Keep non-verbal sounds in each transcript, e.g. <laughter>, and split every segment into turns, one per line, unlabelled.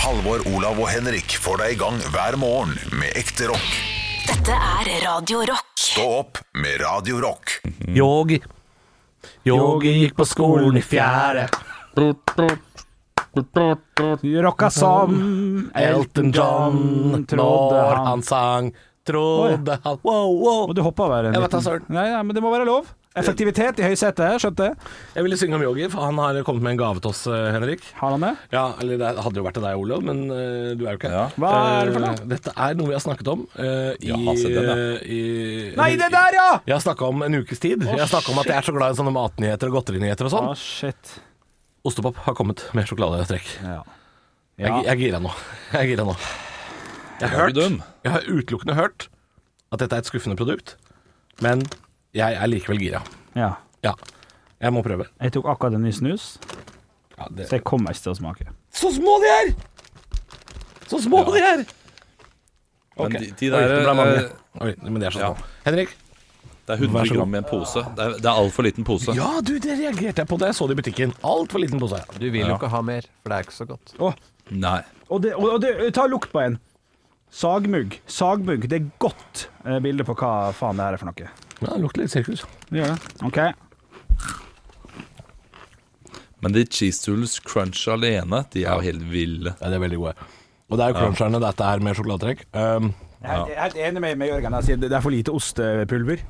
Halvor, Olav og Henrik får deg i gang hver morgen med ekte rock.
Dette er Radio Rock.
Stå opp med Radio Rock.
Yogi. Yogi gikk på skolen i fjerde.
Rocka som
Elton John trodde han, sang. Trodde han Wow, wow.
Og du hoppa over en
Jeg vet da,
liten-
søren.
Nei, nei, men det må være lov. Effektivitet i høysetet, skjønte jeg.
Jeg ville synge om Yogi, for han har kommet med en gave til oss, eh, Henrik.
Har han det?
Ja, eller det hadde jo vært til deg, Olav, men eh, du er jo ikke her.
Hva er det for noe?
Eh, Dette er noe vi har snakket om eh, i,
Ja, se den, ja.
i-
Nei, det der, ja!
Jeg har snakka om en ukes tid. jeg har snakket om at jeg er så glad i sånne matnyheter og godterinyheter og
Å,
sånn.
Ah, shit.
Ostepop har kommet med sjokoladetrekk.
Ja.
Jeg, jeg er gira nå. <laughs> Jeg er gira nå. Jeg har,
ikke dum.
hørt, jeg har utelukkende hørt at dette er et skuffende produkt, men jeg er likevel gira.
ja.
Ja. Jeg må prøve.
Jeg tok akkurat en ny snus,
Ja, det-
så jeg kommer ikke til å smake.
Så små de er! Så små de er!
Men
Ok. Oi,
de, de der,
det ble mange.
eh,
Oi, men de er så
ja.
små. Henrik?
det er
Vær
100
så god.
gram i en pose. Det er, det er altfor liten pose.
Ja, du, det reagerte jeg på da jeg så det i butikken. Altfor liten pose.
Du vil jo ikke ha mer, for det er ikke så godt.
Å,
Nei.
og det, og og det, ta lukt på en. Sagmugg. Sagmugg. Det er godt eh, bilde på hva faen det her er for noe.
Ja, det lukter litt sirkus.
Det gjør det. OK.
Men de cheese doodles crunch alene, de er jo helt ville.
Ja, de er veldig gode. Og det er jo cruncherne dette er med sjokoladetrekk. Um,
Jeg er helt enig med, med Jørgen. Jeg sier det det er for lite eh, ostepulver.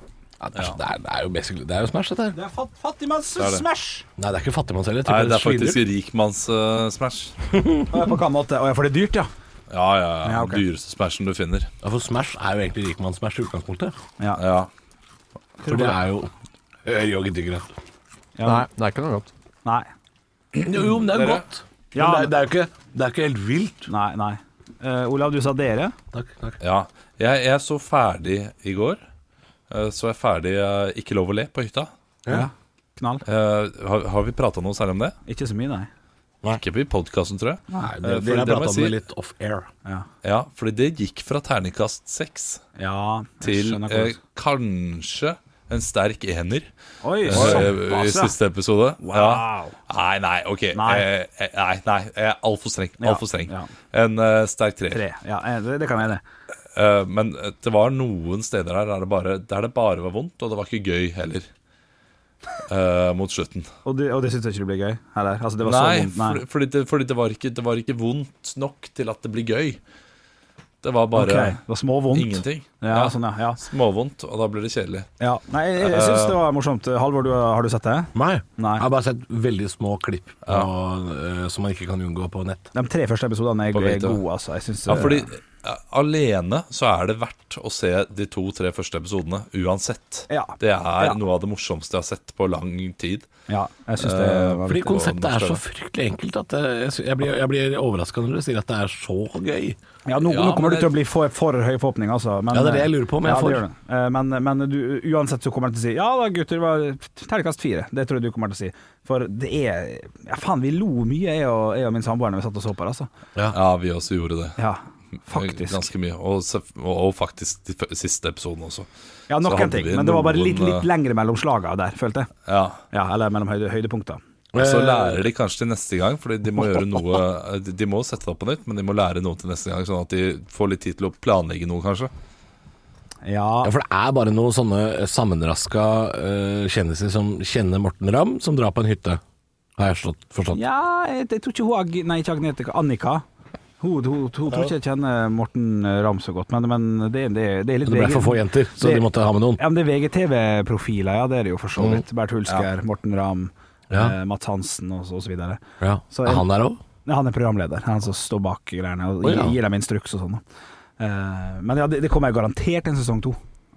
ja, det, er, det, er, det er jo basically Det er jo Smash, dette her.
Det er fat, fattigmanns
er det.
smash!
Nei, det er ikke fattigmanns heller.
Nei,
typen
det er
sviner.
faktisk rikmanns-smash.
Å, ja, på hvilken måte? Å ja, for det er dyrt, ja.
ja, ja, ja.
Ja, ok.
Dyreste smashen du finner.
Ja, for Smash er jo egentlig rikmanns-Smash i utgangspunktet.
Ja.
Ja.
For det er jo yoghurtdyggere.
ja.
Nei, det er ikke noe godt.
Nei.
Jo, jo, men det er
Dere?
godt.
Ja,
men det, er, det, er jo ikke, det er ikke helt vilt.
Nei, nei. Eh, Olav, du sa dere.
Takk, takk.
Ja, jeg, jeg så ferdig i går. Eh, Så jeg ferdig eh, Ikke lov å le på hytta.
Ja. Knall.
Eh, Har, har vi prata noe særlig om det?
Ikke så mye, nei.
Ikke i podkasten, tror jeg.
Nei,
Eh,
det,
for
dere
det
har
må
prata
jeg
om
si-
det litt off air.
Ja.
Ja, fordi det gikk fra terningkast seks
Ja, jeg
til
skjønner
eh,
hvordan-
kanskje en sterk ener
Oi,
eh, i
såpass, ja.
siste episode. Ja.
Wow.
Nei, nei, OK.
Nei.
Eh, eh, nei, nei jeg er altfor streng.
Ja,
Altfor streng.
ja.
En eh, sterk treer.
Tre. Ja, eh, det, det kan jeg, det.
Eh, men det var noen steder der der det, bare, der det bare var vondt, og det var ikke gøy heller. eh, mot slutten.
Og <laughs> det, og det syns jeg ikke det blir gøy heller. Altså, det var så
Nei,
vondt. Nei.
fordi- fordi, det, fordi det, var ikke, det var ikke vondt nok til at det blir gøy. Det var bare
Ok, Det var småvondt.
ingenting.
Ja, sånn, ja. ja.
Småvondt, og da blir det kjedelig.
ja. Nei, jeg, jeg syns det var morsomt. Halvor, du, har du sett det?
Nei.
Nei.
Jeg har bare sett veldig små klipp på, eh, som man ikke kan unngå på nett.
De tre første episodene er,
På
er
VTV.
gode, altså. Jeg syns
Ja, fordi eh, alene så er det verdt å se de to-tre første episodene uansett.
Ja.
Det er
Ja.
noe av det morsomste jeg har sett på lang tid.
Ja, jeg syns det
Eh,
var
Fordi
viktig.
konseptet er så
norsk,
fryktelig enkelt at eh, jeg, sy- jeg blir, jeg blir overraska når dere sier at det er så gøy.
Ja, nå,
Ja,
nå kommer
men
du til å bli for, for høy forhåpning, altså. Men,
Ja, det er det jeg lurer på om jeg
ja, det
får.
gjør det. Eh, Men, men du, uansett så kommer jeg til å si Ja da, gutter, det var terningkast fire. Det tror jeg du kommer til å si. For det er Ja, faen, vi lo mye, jeg og, jeg og min samboer, når vi satt og så på det, altså.
Ja, vi også gjorde det.
Ja, faktisk.
Ganske mye. Og, sef- og og faktisk de f- siste episoden også.
Ja,
så
nok
hadde
en ting.
vi
Men det var bare
noen,
litt, litt
eh,
lengre mellom slaga der, følte jeg.
Ja.
Ja, eller mellom høyde, høydepunkter.
Og så lærer de kanskje til neste gang, Fordi de må gjøre noe eh, De de må sette det opp på nytt, men de må lære noe til neste gang, sånn at de får litt tid til å planlegge noe, kanskje.
Ja,
Ja, for det er bare noen sånne sammenraska eh, kjendiser som kjenner Morten Ramm, som drar på en hytte. Har jeg slått, forstått.
ja jeg, jeg tror ikke hun Ag Nei, ikke Agnete. Annika. Hun, hun, hun, tror ikke jeg kjenner Morten Ramm så godt, men, men det, det, det er litt
Det ble
VG.
for få jenter, så
Det-
de måtte ha med noen.
Ja, men det er VGTV-profiler, ja, det er det jo for så vidt. Bernt Hulsker, Morten Ramm,
Mm. Ja.
eh, Mats Hansen og så, og så videre.
Ja.
Så
er
en-
han der òg?
Nei, han er programleder, han som står bak greiene og
Å, ja.
gir, gir dem instruks og sånn. da. Eh, men ja, det, det kommer garantert en sesong to.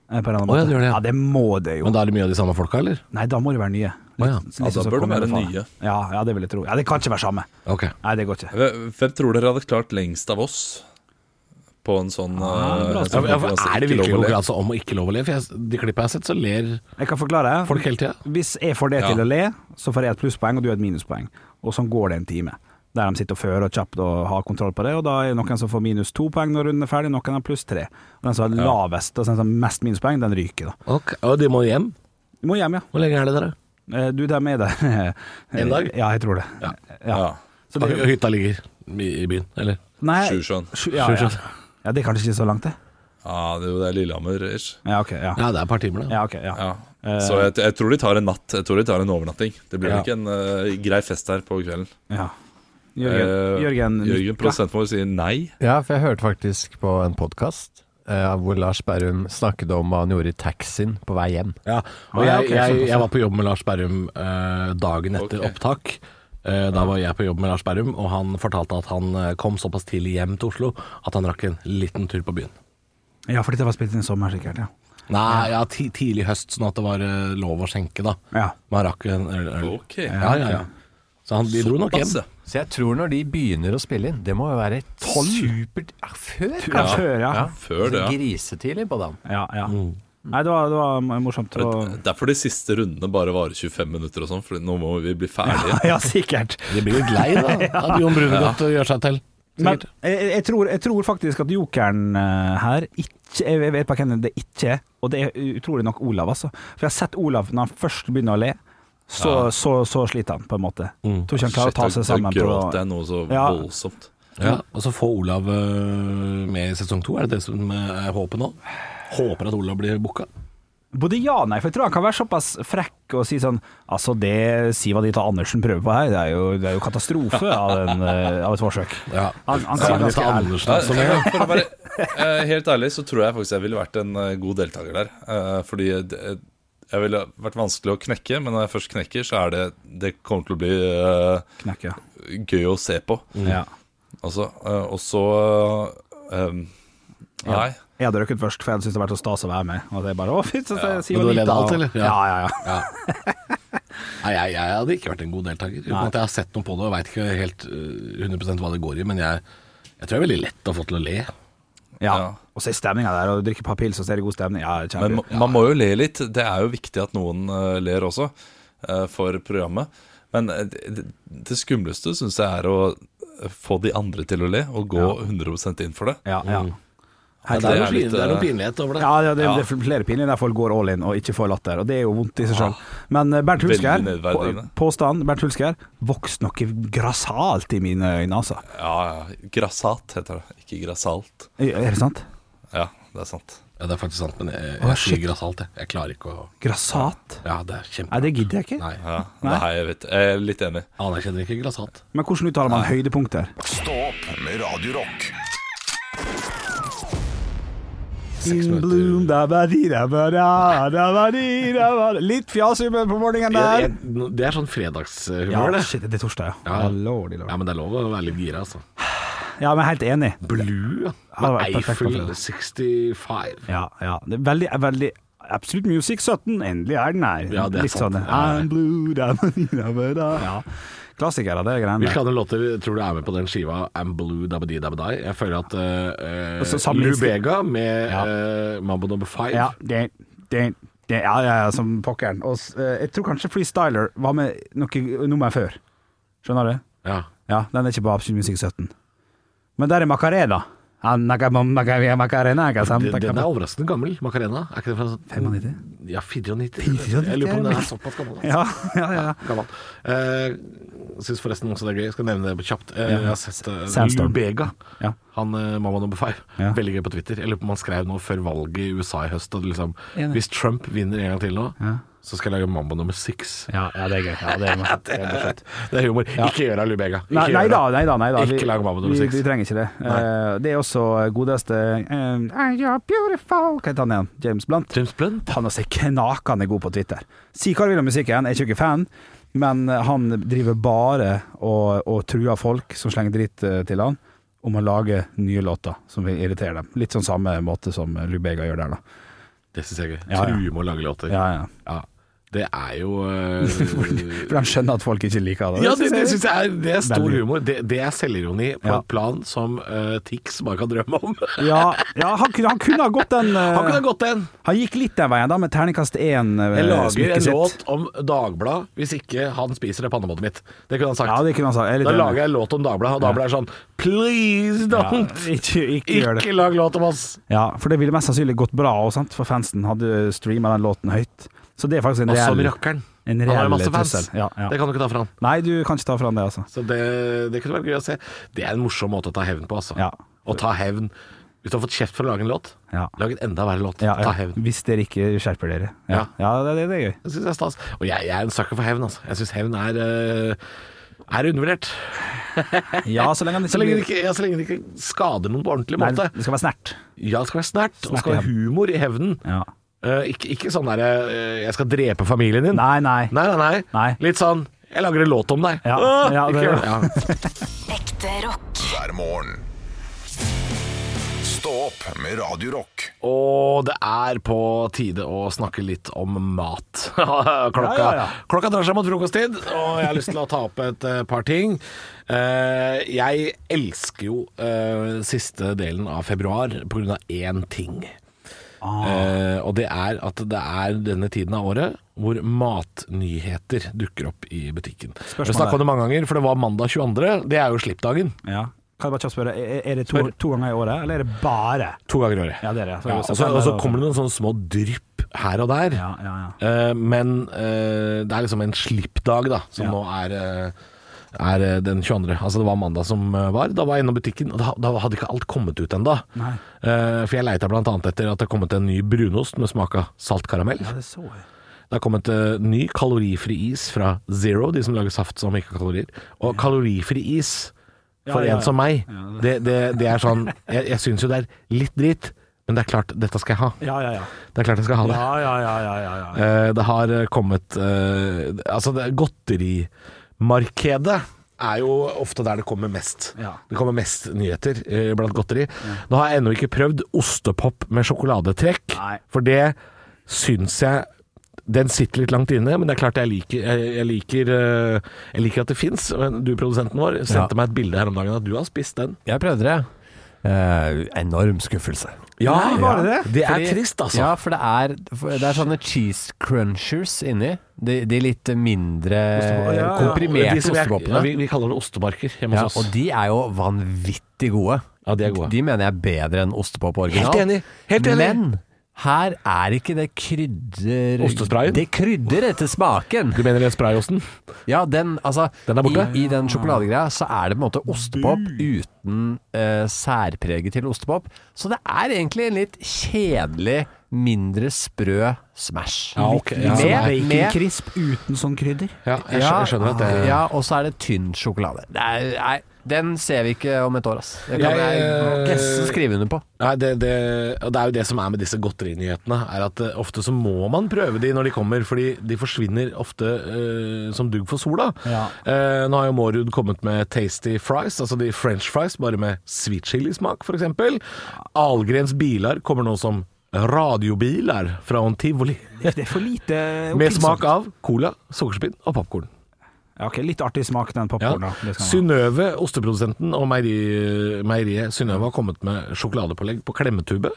eh, På en eller annen
Å, ja,
måte.
det gjør det, ja.
ja, det må det jo.
Men da er det mye av de samme folka, eller?
Nei, da må det være nye.
Å, ja.
Litt- litt
Ja, da
som
bør det
Kongen
være
befaler.
nye.
Ja, ja, det vil jeg tro. Ja, Det kan ikke være samme.
Ok.
Nei, det går ikke.
Hvem hvem tror dere hadde klart lengst av oss på en sånn eh,
bra
Ja,
en sånn
for
konkurranse?
er det
Ikke lov
virkelig
å le.
konkurranse om å ikke lov å le? For jeg, de klippene jeg har sett, så ler
Jeg kan forklare.
folk hele tida.
Hvis jeg får det
Ja.
til å le, så får jeg et plusspoeng, og du et minuspoeng. Og sånn går det en time. Der de sitter og fører og kjapt og har kontroll på det. Og da er det noen som får minus to poeng når runden er ferdig, noen har pluss tre. Og den som har lavest, altså den som har mest minuspoeng, den ryker, da.
Ok, Og de må hjem?
Du må hjem, ja.
Hvor lenge er det dere?
Eh, Du, dem er der.
<laughs> En dag?
Ja, jeg tror det. Ja.
Ja.
Så
Og
det,
Hytta ligger i i byen, eller?
Nei,
Sju sjøen.
sju- ja, ja. ja, det er kanskje ikke så langt, det.
Ja, det er jo det er Lillehammer-ish.
Ja, ok. Ja,
Ja, det er et par timer, det.
ja, ok, ja.
Ja.
Eh.
Så jeg, jeg tror de tar en natt. Jeg tror de tar en overnatting. Det blir
Ja.
nok en eh, grei fest her på kvelden.
ja. Jørgen,
Eh,
Jørgen,
Jørgen,
nikker.
produsenten vår, sier nei.
Ja, for jeg hørte faktisk på en podkast hvor Lars Berrum snakket om hva han gjorde i taxien på vei hjem.
Ja, og
Ja,
jeg,
ok,
jeg,
såpass, ja.
jeg var på jobb med Lars Berrum eh, dagen etter
Ok.
opptak. Eh, da var jeg på jobb med Lars Berrum, og han fortalte at han eh, kom såpass tidlig hjem til Oslo at han rakk en liten tur på byen.
Ja, for dette var spilt inn i sommer, sikkert. Ja.
Nei, ja, ti, tidlig høst, sånn at det var eh, lov å skjenke, da.
ja.
Man rakk en øl. øl.
Ok.
Ja, ja, ja. Så han, de dro nok hjem.
Såpass, ja.
Så jeg tror når de begynner å spille inn, det må jo være supert ja, Før,
Ja,
kanskje?
før, ja.
Ja.
Før det, ja.
Grisetidlig på dagen.
ja, ja. Nei, det var, det var morsomt. Og...
Derfor de siste rundene bare varer 25 minutter og sånn, for nå må vi bli ferdige.
Ja, <laughs> sikkert.
De blir litt lei, da, at Jon Brunegodt gjør seg til.
Men
Sikkert.
jeg, jeg, tror, jeg tror faktisk at jokeren eh, her ikke Jeg jeg vet på hvem det ikke er, og det er utrolig nok Olav, altså. For jeg har sett Olav når han først begynner å le, så,
Ja.
så, så sliter han, på en måte. Tror ikke han <laughs> klarer å
Shit,
ta
da-
seg
da
sammen på
gråter jeg noe så
Ja.
voldsomt.
Ja, og så få Olav eh, med i sesong to, er det det som øh, er håpet nå? Håper at Olav blir booka.
Både ja og nei, for jeg tror han kan være såpass frekk og si sånn Altså, det Siva Dita Andersen prøver på her, det er jo, det er jo katastrofe av, en, eh, av et forsøk.
Ja.
Han, han
Så
sier
er det
ganske
til
ærlig.
Andersen som
<laughs> Nei,
er
For å være eh, helt ærlig så tror jeg faktisk jeg ville vært en eh, god deltaker der. Eh, Fordi det- jeg ville vært vanskelig å knekke, men når jeg først knekker, så er det Det kommer til å bli eh,
Knekk, ja.
gøy å se på.
ja.
Altså, eh, og så eh, um, Nei.
Jeg hadde røkket først, for jeg hadde syntes det hadde vært så stas å være med. Og det er bare, å, fy, så, så, Siva
Men du har
Dita,
ledd alt,
og-
eller? Ja.
Ja, ja, ja.
Ja. Nei, jeg, jeg hadde ikke vært en god deltaker. Uten
Nei.
at jeg har sett noe på det og veit ikke helt eh, 100 hva det går i, men jeg, jeg tror jeg er veldig lett å få til å le.
Ja.
Ja.
Og så er stemninga der, og drikke et par pils, og så er det god stemning. Ja, kjempe.
Men ma- man må jo le litt. Det er jo viktig at noen eh, ler også, eh, for programmet. Men eh, det, det skumleste syns jeg er å eh, få de andre til å le, og gå 100 inn for det.
ja, ja.
Ja,
Helt
det, er
klart.
noe
litt,
pin- det er noe
eh,
pinlighet over det.
Ja, ja, det,
Ja.
det er flere pinlige der folk går all in og ikke får latter, og det er jo vondt i seg sjøl. Men eh, Bernt
Veldig
Hulsker,
nedverdigende.
på- påstand Bernt Hulsker, vokst noe grassat i mine øyne, altså.
Ja, ja. Grassat heter det, ikke grassalt.
Er det sant?
Ja, det er sant.
Ja, det er faktisk sant, men jeg,
Å,
jeg
shit.
sier grassat, jeg. Jeg klarer ikke å
Grassat?
Ja, det er
Nei,
kjempe...
det gidder jeg ikke.
Nei,
Ja,
Nei.
Nei, jeg vet. Jeg er litt enig.
anerkjenner ikke grassat.
Men hvordan uttaler man høydepunkter?
Stå opp med Radio Rock.
Seks
In
minutter.
bloom, da ba di, da ba da, da ba di, da ba da. Litt fjasig på morgenen
Jeg-
der.
jeg- Det er sånn fredagshumør,
Ja,
det.
shit, det er torsdag, ja.
Ja.
Lordy, lordy.
Ja, men det er lov å være litt gira, altså.
Ja, men jeg er helt enig.
Blue, ja.
Ja, det var
Med
perfekt,
Eiffel
perfekt.
65.
Ja, ja. Det er veldig, veldig Absolute Music 17. Endelig er den her.
Ja, det er
Litt
sant.
sånn
Ja, ja.
I'm blue, da, ba, di, da, ba, da. Ja. Klassikere, det er greiene.
Hvilke andre låter tror du er med på den skiva I'm Blue Dabadi Dabadai? Jeg føler at eh, eh,
Altså, samme
Lou
innstil-
Bega med
Ja.
eh, Mambo Number Five
Ja, det, det, det, ja, ja, ja, som pokkeren. Og s- eh, jeg tror kanskje Freestyler var med noe nummer før. Skjønner du?
Ja.
Ja, den er ikke på Absolute Music 17. Men der er Macarena. Ah, naka- ma- naka- via Macarena, ikke sant?
Den, den er overraskende gammel, Macarena. Er ikke det fra sånn-
95?
Ja, 94.
94,
Jeg lurer på om den
ja.
er såpass gammel. altså.
Ja, ja, ja.
Gammel. Uh, Syns forresten også det er gøy. Jeg skal nevne det kjapt. Eh, jeg har sett eh,
Sandstorm.
Lou Bega.
Ja.
Han eh, Mamma Number Five.
Ja.
Veldig gøy på Twitter. Jeg lurer på om han skrev noe før valget i USA i høst. At liksom,
Enig.
hvis Trump vinner en gang til nå,
Ja.
så skal jeg lage Mambo Nummer Six.
Ja, ja, det er gøy. Ja, det er morsomt. Det er morsomt.
<laughs> Det er humor. Ikke gjør det, Lubega. Ikke
Nei,
gjør
nei
det.
da, nei da. Nei da. Vi-
Ikke lag Mambo nummer
vi-
seks.
Vi trenger ikke det. Eh, det er også godeste eh, You're beautiful Hva heter han igjen? James Blunt.
James Blunt.
Han er så knakende god på Twitter. Si hva du vil om musikken, jeg er ikke noen fan, men han driver bare og, og truer folk som slenger dritt eh, til han, om å lage nye låter som vil irritere dem. Litt sånn samme måte som Lubega gjør der, da.
Det syns jeg er gøy.
Ja, ja.
True med å lage låter.
Ja, ja.
Ja. Det er jo
<laughs>
eh,
For han skjønner at folk ikke liker det.
Ja, det,
synes jeg-
det syns jeg er, det er stor
Veldig.
humor. Det, det er selvironi på
Ja.
et plan som eh, Tix bare kan drømme
<laughs>
om.
ja, ja han, kunne, han kunne ha gått den eh,
Han kunne gått en.
Han gikk litt den veien da, med terningkast én. eh,
Jeg lager
smykket
en
sitt.
låt om Dagbladet hvis ikke han spiser det pannemålet mitt. Det kunne han sagt.
Ja, det kunne han sagt. Jeg er litt
da
enig.
lager jeg en låt om Dagbladet, og Dagbladet er sånn Please don't!
Ja, ikke, ikke gjør det.
Ikke lag låt om oss!
Ja, for det ville eh, mest sannsynlig gått bra også, sant? for fansen hadde streama den låten høyt. Så det er faktisk en
Og som
reell
rakkeren.
En
Han har jo
reell
masse fans.
trussel. Ja, ja.
Det kan du ikke ta fra han.
Nei, du kan ikke ta fra han det, altså.
Så det, det kunne vært gøy å se. Det er en morsom måte å ta hevn på, altså.
Ja.
Å ta hevn Hvis du har fått kjeft for å lage en låt,
Ja.
lag en enda verre låt.
Ja,
Ta
ja.
hevn.
Hvis dere ikke skjerper dere. Ja, ja det, det, det er gøy.
Det syns jeg er stas. Og jeg, jeg er en sucker for hevn, altså. Jeg syns hevn er eh, er undervurdert.
Ja, så lenge
<laughs>
han
Så
ikke
lenge, det
blir-
ikke, ja, så lenge det ikke skader noen på ordentlig
Nei,
måte.
det skal være snert.
Ja, det skal være snert, og det skal
Snert i
være humor i hevnen.
Ja.
Eh, ikke, ikke sånn derre eh, 'jeg skal drepe familien din'.
Nei, nei.
Nei, nei, nei.
Nei.
Litt sånn 'jeg lager en låt om deg'.
Ja,
Åh,
ja,
ikke
det-
gjør det. ja.
Ekte rock.
hver morgen. Stå opp med Radio Rock.
<laughs> Og det er på tide å snakke litt om mat. <laughs> klokka,
Ja, ja, ja.
klokka drar seg mot frokosttid, og jeg har lyst til å ta opp et eh, par ting. Eh, jeg elsker jo eh, siste delen av februar pga. én ting.
Ah.
Eh, og det er at det er denne tiden av året hvor matnyheter dukker opp i butikken. Vi
Spørsmålet.
snakka om det mange ganger, for det var mandag 22. Det er jo slippdagen.
Ja. Kan jeg bare kjapt spørre, er er det to, to ganger i året, eller er det bare?
To ganger i året.
Ja, det er det. Så er det
Ja, og, så,
september,
og så
og-
kommer det noen sånne små drypp her og der.
Ja, ja, ja.
Eh, men eh, det er liksom en slippdag, da, som
Ja.
nå er eh, er eh, den 22. Altså Det var mandag som eh, var. Da var jeg innom butikken, og da, da hadde ikke alt kommet ut ennå.
Nei.
for jeg leita bl.a. etter at det kom ut en ny brunost med smak av salt karamell.
Ja, det så jeg.
Det har kommet eh, ny kalorifri is fra Zero, de som lager saft som ikke har kalorier. Og kalorifri is for
Ja, ja, ja.
en som meg, det, det, det er sånn Jeg, jeg syns jo det er litt dritt, men det er klart, dette skal jeg ha.
Ja, ja, ja.
Det er klart jeg skal ha det.
Ja, ja, ja, ja, ja, ja.
Eh, Det har eh, kommet eh, Altså, det godterimarkedet er jo ofte der det kommer mest.
Ja.
Det kommer mest nyheter eh, blant godteri. Nå har jeg ennå ikke prøvd ostepop med sjokoladetrekk,
Nei.
for det syns jeg den sitter litt langt inne, men det er klart jeg liker, jeg, jeg liker, eh, jeg liker at det fins. Du, produsenten vår, sendte meg et bilde her om dagen at du har spist den.
Jeg prøvde det. Eh, enorm skuffelse.
Ja,
Nei, var det det?
Det er
Fordi-
trist, altså.
Ja, for det er, for det er sånne cheese crunchers inni. De, de litt mindre
Ostepop, ja, ja.
komprimerte
De som jeg-
ostepopene.
ja, vi, vi kaller det ostebarker hjemme
Ja,
hos oss.
og de er jo vanvittig gode.
Ja, de er gode.
De mener jeg er bedre enn ostepop original.
Helt enig, helt enig.
Men her er ikke det krydder...
Ostesprayen?
Det krydder etter smaken.
Du mener den sprayosten?
Ja, den, altså,
Den er borte?
I, I den sjokoladegreia så er det på en måte ostepop uten eh, særpreget til ostepop. Så det er egentlig en litt kjedelig, mindre sprø Smash.
Ja, ok, ja.
Med, med
Baconcrisp uten sånn krydder.
Ja, jeg skjønner, jeg skjønner at det
Ah, ja, og så er det tynn sjokolade. Det er, nei, den ser vi ikke om et år, ass. Det kan
Jeg,
jeg,
eh,
nesten skrive under på.
Nei, det, det, og det er jo det som er med disse godterinyhetene, er at eh, ofte så må man prøve de når de kommer, fordi de forsvinner ofte eh, som dugg for sola.
Ja.
Eh, nå har jo Mårud kommet med tasty fries, altså de french fries, bare med sweet chili-smak f.eks. Algrens biler kommer nå som radiobiler fra en tivoli,
Det er for lite
med smak av cola, sukkerspinn og popkorn.
Ja, ok, Litt artig smak, den
Ja.
popkornen. Ja.
Synnøve, osteprodusenten og meieri, meieriet Synnøve har kommet med sjokoladepålegg på klemmetube,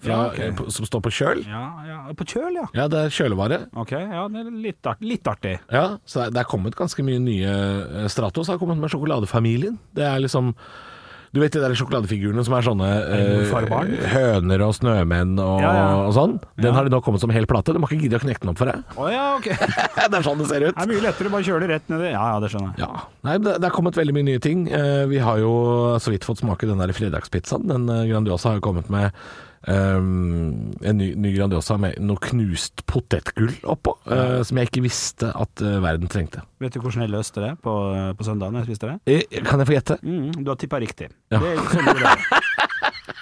fra,
Ja, ok.
eh, på- som står på kjøl.
Ja, ja. På kjøl, ja.
Ja, det er kjølevare.
Ok, ja, det er litt, art, litt artig.
Ja, så det er- det er kommet ganske mye nye eh, Stratos har kommet med sjokoladefamilien. Det er liksom Du vet de der sjokoladefigurene som er sånne eh,
Morfar og barn?
høner og snømenn og,
Ja, ja.
og sånn? Den har de nå kommet som hel plate. De har ikke giddet å knekke den opp for deg. <laughs>
Å ja, ok. <laughs> Det
det er sånn det ser ut.
er mye lettere å bare kjøle rett nedi. Ja, ja, det skjønner jeg.
Ja. Nei, det, det er kommet veldig mye nye ting. Eh, vi har jo så vidt fått smake den der fredagspizzaen. Den eh, Grandiosa har jo kommet med ehm, en ny, ny Grandiosa med noe knust potetgull oppå, eh, som jeg ikke visste at eh, verden trengte.
Vet du hvordan jeg løste det på, på søndagen jeg spiste det?
Eh, kan jeg få gjette?
Mm, du har tippa riktig.
Ja.
Det er sånn du gjør det. <laughs>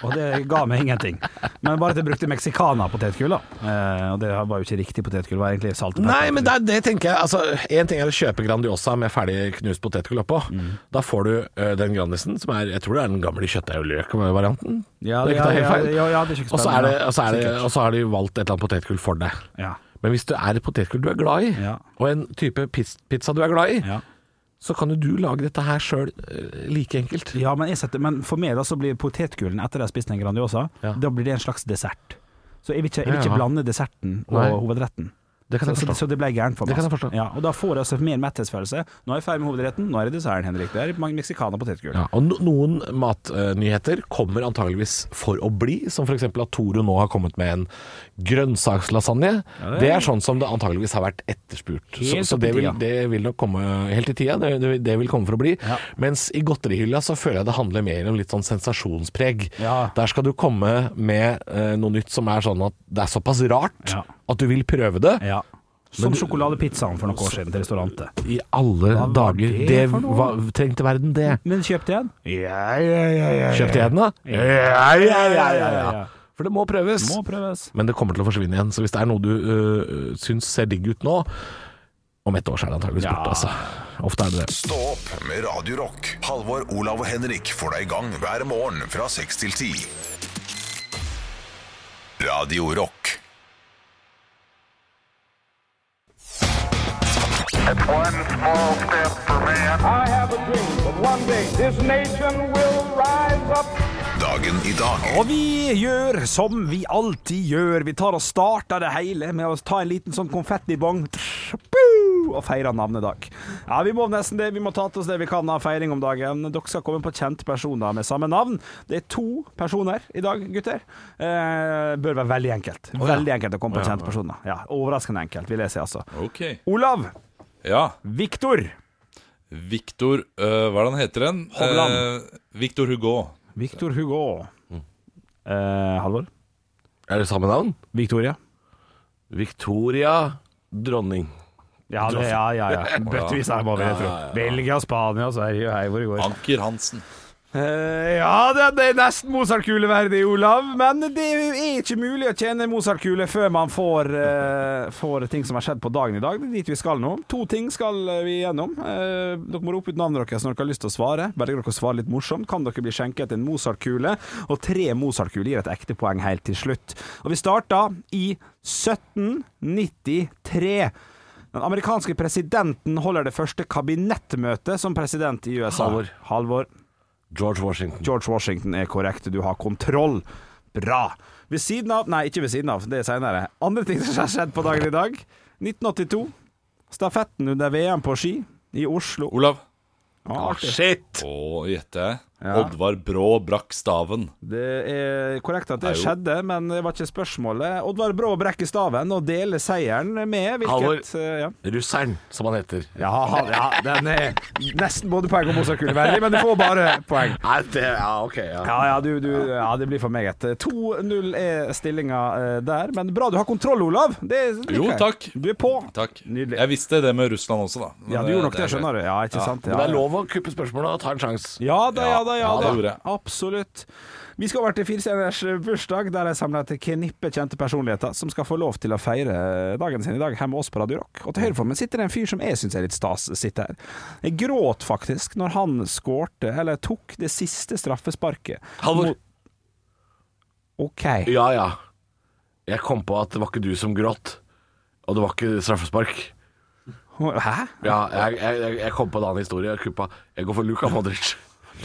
Og det ga meg ingenting. Men bare at jeg brukte mexicana-potetgull, da. Eh, og det var jo ikke riktig potetgull, det var egentlig salt og pepper.
Nei, men det, er- det tenker jeg altså, En ting er å kjøpe Grandiosa med ferdig knust potetgull oppå.
Mm.
Da får du eh, den Grandisen, som er Jeg tror det er den gamle kjøttdeig- og løk-varianten.
Ja,
Det er ikke
ja,
helt
ja,
feil.
ja, ja, det er ikke
Og så er det-
spennende.
og så er det-
Sikkert.
og så har de valgt et eller annet potetgull for deg.
Ja.
Men hvis det er et potetgull du er glad i,
Ja.
og en type pis- pizza du er glad i,
Ja.
så kan jo du lage dette her sjøl like enkelt.
ja, men, jeg setter, men for meg da så blir potetgullen etter at jeg har spist en Grandiosa,
Ja.
da blir det en slags dessert. Så jeg vil ikke, jeg vil
Ja, ja.
ikke blande desserten og
Nei.
hovedretten.
Det kan jeg
så,
forstå.
så det ble gærent for
Det
meg.
kan jeg
altså.
forstå.
Ja, og da får jeg altså mer metthetsfølelse. Nå er jeg ferdig med hovedretten, nå er det desserten, Henrik. Det er meksikaner og potetgull.
Ja, og no noen matnyheter kommer antageligvis for å bli, som f.eks. at Toro nå har kommet med en grønnsakslasagne. det, er sånn som det antageligvis har vært etterspurt. Så,
Helt
så
opp i
det, vil,
tida.
det vil nok komme helt i tida. Det, det, det vil komme for å bli.
Ja.
Mens i godterihylla så føler jeg det handler mer om litt sånn sensasjonspreg.
Ja.
Der skal du komme med eh, noe nytt som er sånn at det er såpass rart
Ja.
at du vil prøve det.
Ja. Som sjokoladepizzaen for noen år siden til restaurantet.
I alle
Hva var
dager.
det
Det,
for noe?
hva, trengte verden det.
Men kjøpte jeg den?
Kjøpte jeg den, da? Ja, ja, ja, ja, ja. For det må prøves.
Må prøves.
Men det kommer til å forsvinne igjen. Så hvis det er noe du øh, syns ser digg ut nå Om et år så er det antakeligvis
Ja.
borte, altså. Ofte er det det.
Stå opp med Radio Rock. Halvor, Olav og Henrik får deg i gang hver morgen fra 6 til 10. Radio Rock.
One small step for man. I have a dream that one day this nation will rise up.
Dagen i dag.
Og vi gjør som vi alltid gjør. Vi tar og starter det hele med å ta en liten sånn konfettibong Tsh, boo, og feire navnedag. Ja, vi må nesten det. Vi må ta til oss det vi kan av feiring om dagen. Dere skal komme på kjente personer med samme navn. Det er to personer i dag, gutter. Eh, bør være veldig enkelt. Veldig enkelt å komme på kjente personer. Ja, Overraskende enkelt, vil jeg si, altså.
Ok.
Olav.
Ja.
Viktor.
Viktor øh, Hva er det han heter igjen?
Hovland.
Eh, Viktor Hugo.
Viktor Hugo. Eh, Halvor.
Er det samme navn?
Victoria.
Victoria dronning.
Ja, det, ja, <laughs> ja, ja. Bøttevis er det bare, jeg tror. Belgia, Spania, Sverige, hei hvor det går.
Anker Hansen.
Eh, ja, det, det er nesten Mozart-kule verdig, Olav. Men det er jo ikke mulig å tjene Mozart-kule før man får, eh, får ting som har skjedd på dagen i dag. Det er dit vi skal nå. To ting skal eh, vi gjennom. Eh, dere må rope ut navnet deres når dere har lyst til å svare. Bare dere svarer litt morsomt, kan dere bli skjenket en Mozart-kule. Og tre Mozart-kuler gir et ekte poeng helt til slutt. Og vi starter i 1793. Den amerikanske presidenten holder det første kabinettmøtet som president i USA.
Halvor.
Halvor.
George Washington.
George Washington er korrekt, du har kontroll. Bra. Ved siden av Nei, ikke ved siden av, det er seinere. Andre ting som har skjedd på dagen i dag. 1982. Stafetten under VM på ski i Oslo.
Olav.
Ja, artig.
Shit!
Å, gjetter jeg. Oddvar Brå brakk staven.
det er korrekt at det
Nei, jo.
skjedde, men det var ikke spørsmålet. Oddvar Brå brekker staven og deler seieren med hvilket eh, ja.
Russeren, som han heter.
Ja, ja, den er nesten både poeng og Mozart-kule, veldig, men du får bare poeng.
Nei, det, ja, ok. Ja.
Ja, ja, du, du, ja, det blir for meget. 2-0 er stillinga eh, der. Men bra du har kontroll, Olav. Det liker
Jo,
jeg.
takk.
Du er på.
Takk.
Nydelig.
Jeg visste det med Russland også, da. Men eh,
Ja, du gjorde nok
er
det, skjønner du. Ja, ikke sant?
Men det er lov å kuppe spørsmålet og ta en sjanse.
Ja da, ja da, ja
Ja, det
da.
gjorde jeg.
Absolutt. Vi skal over til firestjerners eh, bursdag, der jeg samler et knippe kjente personligheter som skal få lov til å feire eh, dagen sin i dag hjemme med oss på Radio Rock. Og til høyre for meg sitter det en fyr som jeg syns er litt stas sitte her. Jeg gråt faktisk når han skårte, eller tok, det siste straffesparket.
Halvor.
mot- OK.
Ja ja. Jeg kom på at det var ikke du som gråt, og det var ikke straffespark.
Hæ?
Ja, jeg, jeg, jeg- jeg kom på en annen historie. Jeg, kuppa. jeg går for Luka Modric.
<laughs>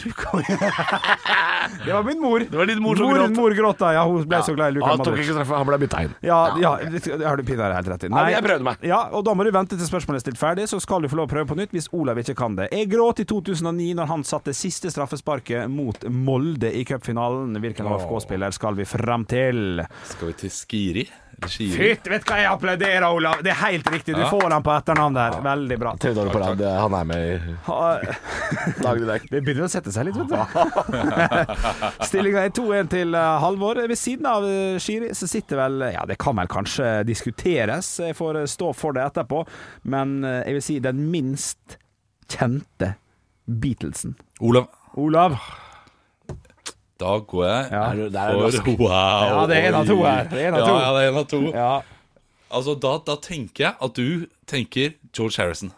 Det var min mor. Det
var din mor som
mor,
gråt.
mor gråt. da. Ja, hun ble så glad i Luka
han tok
Modric.
ikke straffe, han ble bytta inn.
Ja, ja, det har du pinadø helt rett i.
men jeg prøvde meg.
Ja, og da må du vente til spørsmålet er stilt ferdig, så skal du få lov å prøve på nytt hvis Olav ikke kan det. Jeg gråt i 2009 når han satte siste straffesparket mot Molde i cupfinalen. Hvilken AFK-spiller skal vi frem til?
Skal vi til Skiri? Eller Skiri?
Fytt, vet du hva jeg applauderer, Olav! Det er helt riktig, du får han på etternavn der. Veldig bra.
Tredje året på rad. Han er med i
Ha-
dagen i dag.
Det begynner å sette seg litt, vet du. <laughs> Stillinga er 2-1 til eh, Halvor. Ved siden av eh, Shiri så sitter vel Ja, det kan vel kanskje diskuteres, jeg får eh, stå for det etterpå, men eh, jeg vil si den minst kjente Beatlesen.
Olav.
Olav.
Da går jeg
Ja.
Er du- det er
for
rask.
<laughs> Wow.
Ja, det er en av to her. Det er en av to.
Ja, ja, det er en av to.
Ja.
Altså, da, da tenker jeg at du tenker George Harrison.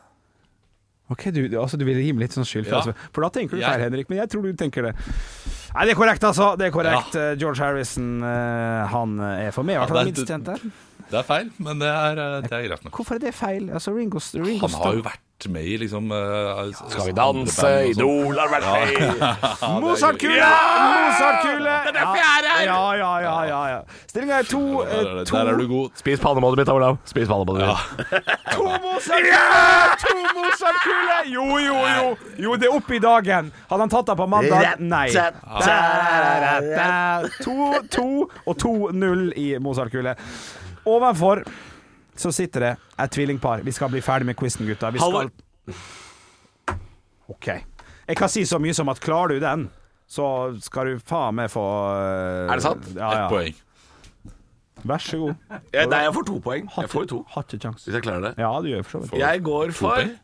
Ok, du, altså, du vil gi meg litt sånn skyld, for,
Ja.
altså, for da tenker du
Jeg-
feil, Henrik, men jeg tror du tenker det. Nei, det er korrekt, altså. Det er korrekt. Eh, George Harrison, eh, han er for meg i hvert fall
Ja,
den
det
minst
er-
kjente.
Det er feil, men det er, eh, det er greit nok.
Hvorfor er det feil? Altså, Ringo, Ringo
Han har jo vært vært med i liksom eh,
Skal vi
andre band og
danse?
sånn.
Idol har vært med i.
Mozartkule! Mozartkule!
Det er derfor jeg er her!
Ja, ja, ja. ja, ja. Stillinga er to,
Der er,
eh,
det-
to
der er du god.
Spis pannemålet mitt, Olav. Spis pannemålet mitt.
To Mozart-kuler! To Mozart-kuler! Jo, jo, jo. Jo, det er oppe i dagen. Hadde han tatt det på mandag? Nei. To, to og to null i Mozart-kule. Ovenfor så sitter det et tvillingpar. Vi skal bli ferdig med quizen, gutta. Vi skal
Halvor.
OK. Jeg kan si så mye som at klarer du den, så skal du faen meg få
Er det sant?
Ja,
Ett
ja.
poeng.
Vær så god.
Ja, nei, jeg får to poeng. Jeg får jo to,
Har ikke kjangs.
hvis jeg klarer det.
Ja, du gjør for så vidt.
Jeg går for
poeng?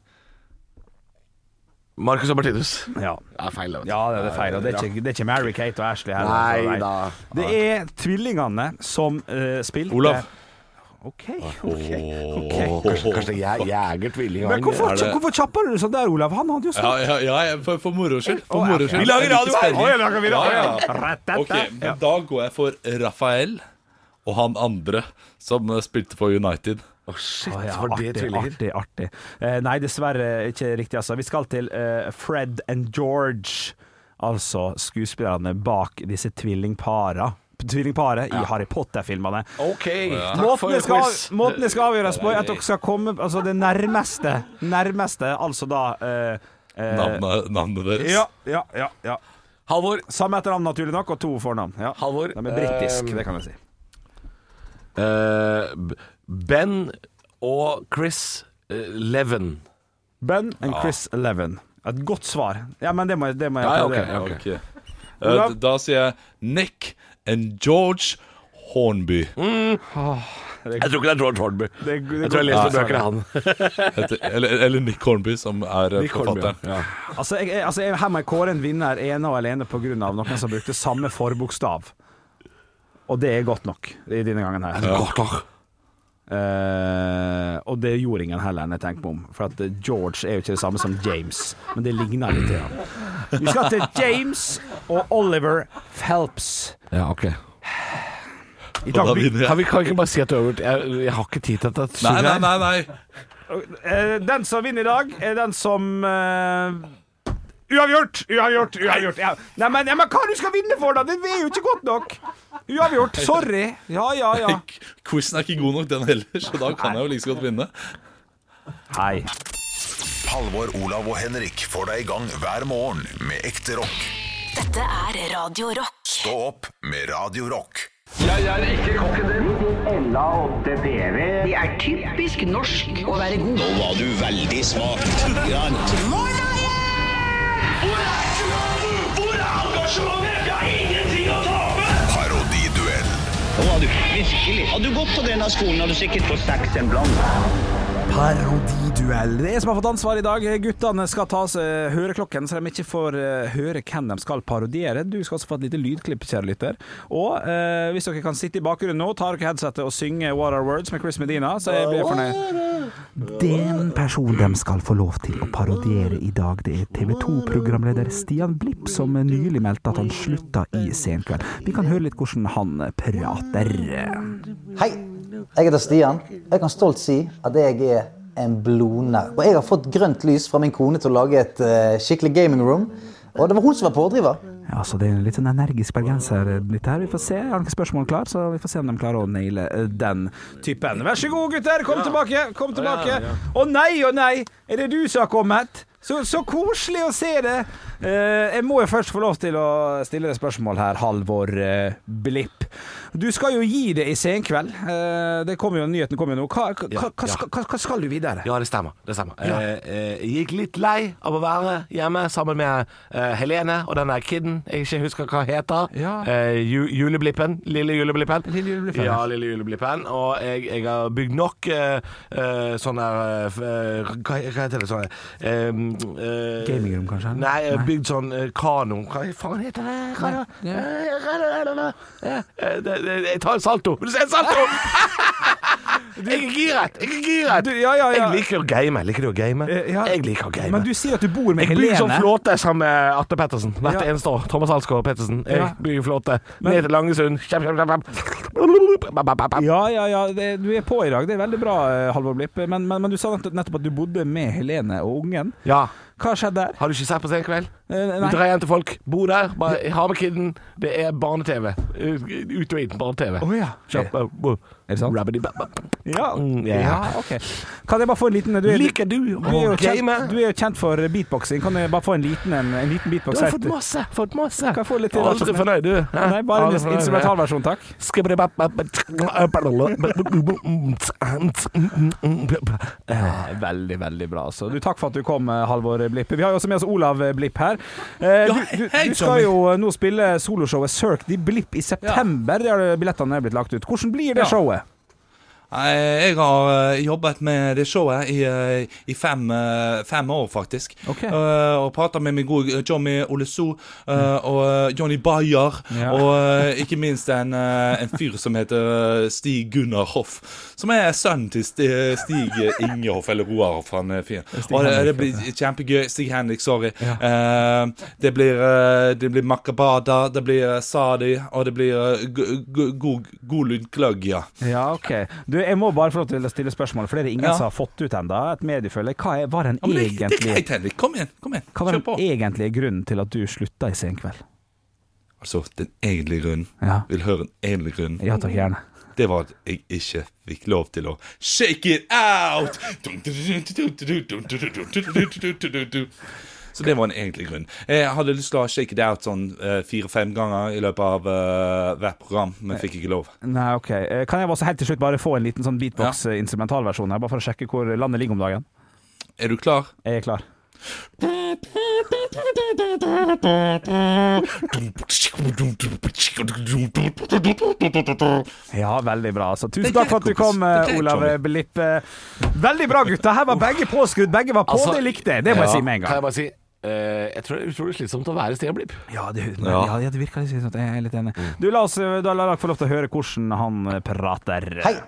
Marcus og Martinus.
Ja.
Det er feil, det.
Ja, det er det feil. Og det er ikke, det er ikke Mary Kate og Ashley her.
Nei da.
Det er tvillingene som eh, spilte
Olav.
OK. ok, ok.
Kanskje, kanskje jeg, jeg er tvilling.
Men hvorfor,
Er det-
hvorfor kjapper du sånn der, Olav? Han hadde jo
Ja,
snakket.
ja, ja jeg- for, for moro skyld. For moro skyld.
Vi lager
Jeg liker
radio her!
spenning.
Å, ja, lager vi radio.
Ja, ja.
Rett etter.
Ok, men
Ja.
da går jeg for Rafael og han andre som eh, spilte for United.
shit,
Å, ja,
var det
artig,
tvillinger?
artig, artig. Eh, nei, dessverre ikke riktig, altså. Vi skal til eh, Fred and George, altså skuespillerne bak disse tvillingpara. Tvillingparet i Harry Potter-filmene.
OK, takk
Måten
for
det, skal,
quiz.
måten det skal avgjøres på, er at dere skal komme Altså det nærmeste. Nærmeste, altså da eh, eh,
Navnet, navnet deres.
Ja, ja, ja, ja.
Halvor,
Samme etternavn, naturlig nok, og to fornavn. Ja.
Halvor,
De er britisk,
eh,
det kan jeg si.
eh, B- Ben og Chris eh, Leven.
Ben and Chris Eleven. Et godt svar. Ja, men det må, jeg- det må jeg
Ah. Ja, ja,
applaudere.
ok,
Ok. Eh,
Olav?
d- da sier jeg Nick and George Hornby.
Jeg tror ikke det er George Hornby.
Det, det,
Jeg tror jeg
Ja,
leste
sorry.
bøker av han.
Heter, eller, eller Nick Hornby, som er eh, forfatteren.
Altså, jeg, jeg- altså jeg, her må jeg kåre en vinner ene og alene på grunn av noen som brukte samme forbokstav. Og det er godt nok i denne gangen her. Eh, og det gjorde ingen heller, enn jeg tenker meg om. For at eh, George er jo ikke det samme som James, men det ligner litt. i han. Vi skal til James og Oliver Phelps.
Ja, ok.
I
Og
dag,
da vinner
Kan
jeg.
vi kan vi ikke bare si at du har gjort Jeg, jeg har ikke tid til dette.
Nei, nei, nei. nei.
Eh, den som vinner i dag, er den som eh, Uavgjort! Uavgjort! uavgjort ja. Nei, men, ja, men hva du skal vinne for, da? Det er jo ikke godt nok. Uavgjort. Sorry. Ja, ja, ja.
Quizen er ikke god nok, den heller, så da kan jeg jo like så godt vinne.
Hei.
Halvor, Olav og Henrik får deg i gang hver morgen med ekte rock.
Dette er Radio Rock.
Stå opp med Radio Rock.
Jeg er ikke kokken din. De er typisk norsk å være god. Nå var du veldig
Hvor
smart.
er engasjementet? Jeg har ingenting å tape!
Parodiduell.
Nå var du virkelig. Hadde du gått på denne skolen, hadde du sikkert fått seks en blant.
Parodiduell. Det er jeg som har fått ansvar i dag. Guttene skal ta seg høreklokken, så de ikke får eh, høre hvem de skal parodiere. Du skal også få et lite lydklipp, kjære lytter. Og eh, hvis dere kan sitte i bakgrunnen nå, tar dere headsetet og synge What Are Words med Chris Medina, så jeg blir fornøyd. Den personen de skal få lov til å parodiere i dag, det er TV 2-programleder Stian Blipp, som nylig meldte at han slutta i Senkveld. Vi kan høre litt hvordan han prater.
Hei, jeg heter Stian. Jeg kan stolt si at jeg er en blodnær. Og jeg har fått grønt lys fra min kone til å lage et eh, skikkelig gaming room. Og det var hun som var pådriver.
Ja, så Det er litt sånn energisk bergenser litt her. Vi får se. Jeg har ikke spørsmål klar, så vi får se om de klarer å naile eh, den typen. Vær så god, gutter! Kom tilbake! Kom tilbake! Å nei, å nei! Er det du som har kommet? Så, så koselig å se det! Eh, jeg må jo først få lov til å stille deg spørsmål her, Halvor eh, Blipp. Du skal jo gi det i senkveld. Eh, det kommer jo, nyheten kommer jo nå. Hva, hva,
Ja,
hva,
ja.
skal- hva, hva skal du videre?
Ja, det stemmer. Det stemmer. Eh, eh, jeg gikk litt lei av å være hjemme sammen med eh, Helene og den der kiden jeg ikke husker hva heter.
Ja.
Eh, ju, juleblippen. Lille juleblippen.
Lille juleblippen,
Ja, lille juleblippen. Og jeg, jeg har bygd nok eh, eh, sånne eh, f- eh, hva, hva heter det sånne eh, eh,
Gamingrom, kanskje?
Nei, jeg har bygd sånn eh, kano Hva faen heter det? Kano?
Nei,
Eh,
<laughs>
eh, eh, eh, eh, eh, eh, Jeg tar en salto! Vil du se en salto? Jeg er giret! Jeg er giret!
Du, ja, ja, ja.
Jeg liker å game. Liker du å game?
Eh, ja.
Jeg liker å game.
Men du sier at du bor med
jeg blir sånn som
Helene.
flåte sammen med Atte Pettersen hvert
Ja.
eneste år. Thomas Alsgaard Pettersen. Jeg
Ja.
blir flåte. Ned til Langesund. Kjapp, kjapp, kjapp, kjapp.
Ja, ja, ja. Det, du er på i dag. Det er veldig bra, eh, Halvor Blipp. Men, men, men du sa nett- nettopp at du bodde med Helene og ungen.
Ja.
Hva skjedde der?
Har du ikke sett på Se en kveld?
Eh,
Du
nei.
drar hjem til folk, bor der, bare ha med kiden. Det er barne-TV. Eh, Ut og inn barne-TV.
Å ja.
Kjapp, uh, uh,
Er det sant?
rabbidi-bab-bab.
Ja.
Mm, ja.
ja, ok. Kan jeg bare få en liten du er,
Liker du
du er,
å
jo
game?
kjent, du er jo kjent for beatboxing. Kan jeg bare få en liten, en, en
Du
liten beatbox?
har fått masse. fått masse
Kan jeg få litt til, rett og
Aldri
slett?
fornøyd, du. Hæ?
Nei, bare
Aldri
en
fornøyd.
instrumentalversjon, takk.
Hei,
Veldig, veldig bra. Så du, takk for at du kom, eh, Halvor Blipp. Vi har jo også med oss Olav Blipp her. Eh, Du, du,
hei,
du skal
Tommy.
jo eh, nå spille soloshowet Cirque de Blipp i september. Det har billettene blitt lagt ut. Hvordan blir
Ja.
det showet?
Nei, Jeg har eh, jobbet med det showet i, eh, i fem, eh, fem år, faktisk.
Ok.
Eh, og prata med min gode Jommy Olesso eh, og eh, Johnny Bayer.
Mm. Ja.
Og eh, ikke minst en, eh, en fyr som heter eh, Stig Gunnar Hoff. Som er sønnen til Sti- eh, Stig Inge Hoff, eller Roar Hoff. Han er fin. Og det, det blir kjempegøy. Stig Henrik, sorry. Eh, det blir, eh, det blir makabada, det blir eh, sadi, og det blir eh, go- go- god Golund Gløgg, ja.
Ja, OK. Du, jeg må bare få lov til å stille spørsmål, for det er det ingen
Ja.
som har fått ut ennå. Et mediefølge. Hva er, var den
Ja, men det, det er
egentlige
greit, Henrik. Kom igjen. kom igjen,
hva var
Kjør på.
den egentlige grunnen til at du slutta i Senkveld?
Altså, den egentlige grunnen
e- Ja.
Vil høre den egentlige grunnen.
Ja takk, gjerne.
Det var at jeg ikke fikk lov til å shake it out! Så det var en egentlig grunn. Jeg hadde lyst til å shake it out sånn eh, fire-fem ganger i løpet av eh, hvert program, men fikk ikke lov.
Nei, ok. Eh, Kan jeg også helt til slutt bare få en liten sånn beatbox-instrumentalversjon her, bare for å sjekke hvor landet ligger om dagen?
Er du klar?
Jeg er klar. Ja, veldig bra. Altså. Tusen
Det er
takk for at du
greit, kompis.
kom, eh,
Det er greit,
Olav
Tommy.
Blipp. Eh, Veldig bra, gutta. Her var begge påskrudd. Begge var på.
Altså,
det likte jeg. Det må jeg si med en
Kan jeg
gang.
bare si eh, Jeg tror det er utrolig slitsomt å være Stian Blipp.
Ja, det, ja. ja, det virker litt sånn. Jeg er litt enig. Du, la oss eh, da la dere få lov til å høre hvordan han eh, prater.
Hei,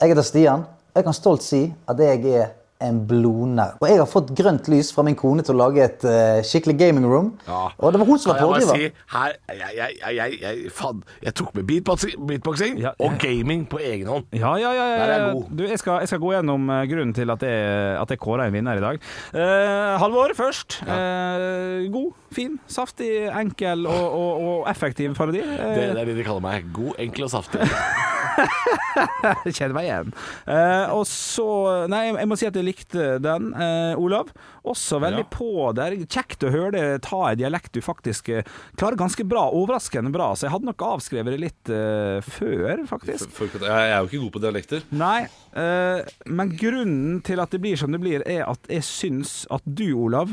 jeg heter Stian. og Jeg kan stolt si at jeg er en blodnerd. Og jeg har fått grønt lys fra min kone til å lage et eh, skikkelig gaming room. Og det var hun som
Kan
var
jeg bare
pådriver.
si her, jeg, jeg, jeg, jeg, jeg, faen, jeg tok med beatboxing, beatboxing
Ja,
og gaming på egen hånd.
Ja, ja, ja. ja,
Der er
ja.
jeg god.
Du, jeg, skal, jeg skal gå gjennom eh, grunnen til at jeg, at jeg kåra en vinner i dag. Eh, Halvor først. Eh, god, fin, saftig, enkel og, og, og effektiv parodi. Eh,
Det, det er det de kaller meg. God, enkel og saftig.
Jeg kjenner meg igjen. Eh, og så Nei, jeg må si at jeg likte den, eh, Olav. Også veldig på der. Kjekt å høre det ta en dialekt du faktisk eh, klarer ganske bra. Overraskende bra. Så jeg hadde nok avskrevet det litt eh, før, faktisk.
For- for- Jeg er jo ikke god på dialekter.
Nei, eh, men grunnen til at det blir som det blir, er at jeg syns at du, Olav,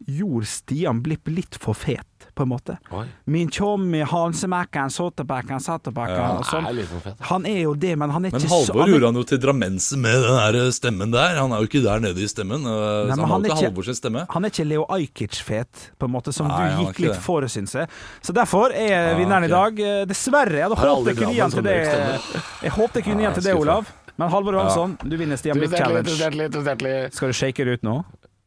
gjorde Stian Blipp litt for fet, på en måte.
Oi.
Min tjommi, Hansemekkeren, Sotebekken,
Ja,
Satterbekken
Han
og
er
sånn.
litt for fet.
Han er jo det, men han er
Men
ikke
Halvor
er-
gjorde han jo til drammenser med den der eh, stemmen der. Han er jo ikke der nede i stemmen. eh,
Nei,
så
men er
han har jo ikke
ikke-
Halvor sin stemme.
Han er ikke Leo Ajkic-fet, på en måte, som
Nei, han er
du gikk
ikke
litt
det.
for, syns jeg. Så derfor er vinneren
ok.
i dag eh, Dessverre. Jeg hadde
Har
håpet
aldri
jeg kunne gi
Drammen
han til
som
det.
mørkstemmer.
Jeg håpet jeg kunne gi han til det,
Nei,
Olav. Men Halvor Johansson, du vinner Stian Blipp
Tusen hjertelig,
Challenge.
tusen hjertelig, tusen hjertelig.
Skal du shake det ut nå?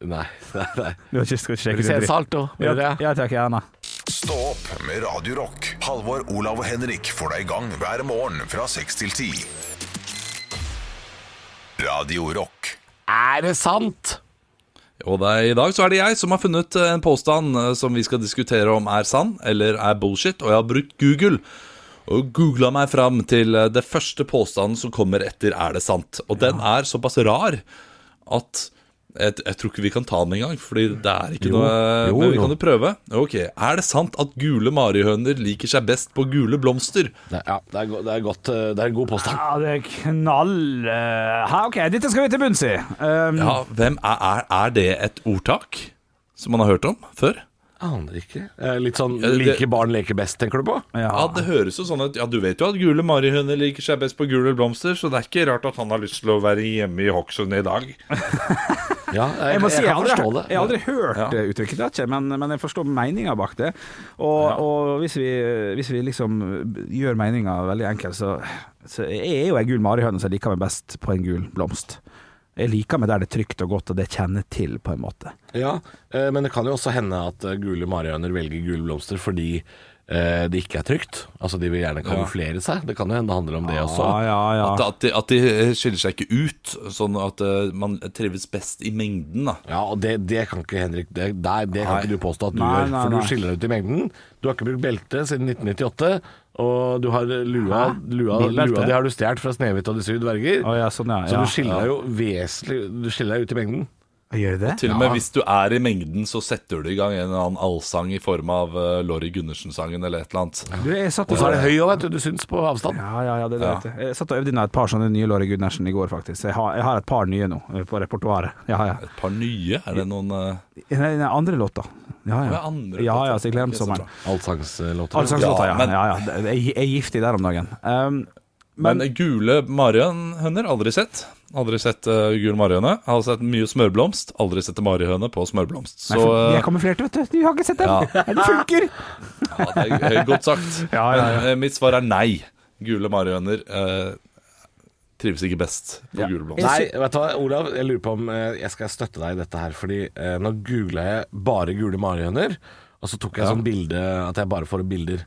Nei, nei, nei.
Du har ikke skal du shake
Vil du
det
se
ut?
en salto? Vil
Ja,
du det?
ja takk, gjerne.
Stå opp med Radio Rock. Halvor, Olav og Henrik får deg i gang hver morgen fra 6 til 10. Radio Rock.
Er det sant?
Og det er, i dag så er det jeg som har funnet eh, en påstand eh, som vi skal diskutere om er sann eller er bullshit, og jeg har brukt Google. Og googla meg fram til eh, det første påstanden som kommer etter 'er det sant'. Og den er såpass rar at jeg, jeg tror ikke vi kan ta den engang, fordi det er ikke noe eh,
Jo,
Men vi
jo.
kan jo prøve. Ok, Er det sant at gule marihøner liker seg best på gule blomster?
Det, ja, det er, go- det, er godt, eh, det er en god påstand.
Ja, det er knall eh, ha, OK, dette skal vi til bunns i. Um,
Ja, hvem er, er, er det et ordtak som man har hørt om før?
Aner ikke. Eh, Litt sånn
det-
like barn leker best, tenker du på?
Ja. det høres jo sånn ut Ja, du vet jo at gule marihøner liker seg best på gule blomster, så det er ikke rart at han har lyst til å være hjemme i Hokksund i dag.
Ja, jeg-
må
jeg
si,
kan
har aldri-
forstå det.
Jeg har aldri hørt det uttrykket, det er ikke, men, men jeg forstår meninga bak det. Og, og hvis, vi, hvis vi liksom gjør meninga veldig enkel, så, så jeg er jo ei gul marihøne som liker meg best på en gul blomst. Jeg liker meg der det er trygt og godt, og det kjenner til, på en måte.
Ja, eh, men det kan jo også hende at eh, gule marihøner velger gule blomster fordi eh, det ikke er trygt. Altså, de vil gjerne kamuflere seg. Det kan jo hende det handler om det også.
Ja, ja, ja.
At, at, de, at de skiller seg ikke ut, sånn at eh, man trives best i mengden. da
Ja, og det, det kan ikke Henrik Det, nei, det kan ikke du påstå at du
Nei,
gjør,
nei,
for
nei.
du skiller deg ut i mengden. Du har ikke brukt belte siden 1998, og du har lua Lua,
Bilbelte?
lua di har du stjålet fra Snehvit og de syv dverger.
Å, ja, sånn, ja,
Så
ja,
du skiller deg jo vesentlig Du skiller deg ut i mengden.
Gjør det?
Til og med hvis du er i mengden, så setter du i gang en eller annen allsang i form av eh, Laurie Gundersen-sangen eller et eller annet.
Du, jeg satt
Og så er det høy òg, vet du. Du syns på avstand.
Ja, ja, ja, det, det vet jeg. Jeg satt og øvde inn et par sånne nye Låre Gundersen i går, faktisk. Jeg har, jeg har et par nye nå, eh, på repertoaret. Ja, ja.
Et par nye? Er det noen eh,
Nei, nei, andre låter. Ja,
Hva
ja.
er andre
ja,
låter?
ja, så jeg gleder meg
Ok,
til
så
sommeren.
bra.
Allsangslåter.
Allsangslåter, ja.
Ja, men-
ja, ja. Jeg, jeg er giftig der om dagen. Um,
Men gule marihøner, aldri sett. Aldri sett eh, gul marihøne. Har sett mye smørblomst. Aldri sett en marihøne på smørblomst. Så
nei, for, de
eh,
er kamuflerte, vet du. Du har ikke sett dem! <laughs>
Ja.
Det funker!
ja, det er eh, godt sagt.
<laughs>
Ja, ja, ja.
Men eh, mitt svar er nei. Gule marihøner eh, trives ikke best på gule blomster.
Nei, vet du hva, Olav, jeg lurer på om eh, jeg skal støtte deg i dette her. Fordi eh, nå googla jeg bare gule marihøner, og så tok jeg sånn bilde at jeg bare får bilder.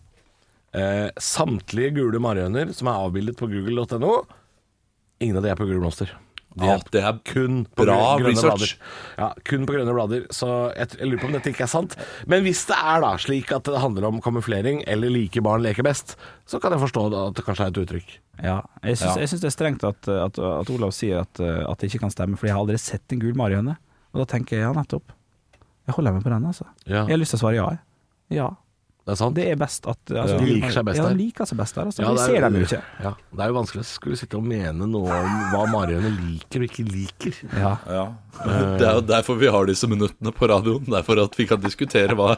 Eh, samtlige gule marihøner som er avbildet på google.no, ingen av de er på gule blomster. De
Ja,
er
det er
kun på
bra
grø- grønne
research.
blader. Ja, kun på grønne blader. Så jeg, t- jeg lurer på om dette ikke er sant. Men hvis det er da slik at det handler om kamuflering eller like barn leker best, så kan jeg forstå at det kanskje er et uttrykk.
Ja, jeg syns,
Ja.
Jeg syns det er strengt at, at, at Olav sier at, eh, at det ikke kan stemme, Fordi jeg har aldri sett en gul marihøne. Og da tenker jeg ja, nettopp. Jeg holder meg på den, altså.
Ja.
Jeg har lyst til å svare ja. jeg. Ja.
Det er sant.
Det er best at
Ja, de liker seg best
Ja,
der.
de liker seg best der. Altså.
Ja,
vi
det er-
ser dem jo ikke.
Ja, det er jo vanskelig å skulle sitte og mene noe om hva marihøner liker og ikke liker.
Ja.
Ja.
Eh.
<laughs> Det er jo derfor vi har disse minuttene på radioen. Det er for at vi kan diskutere hva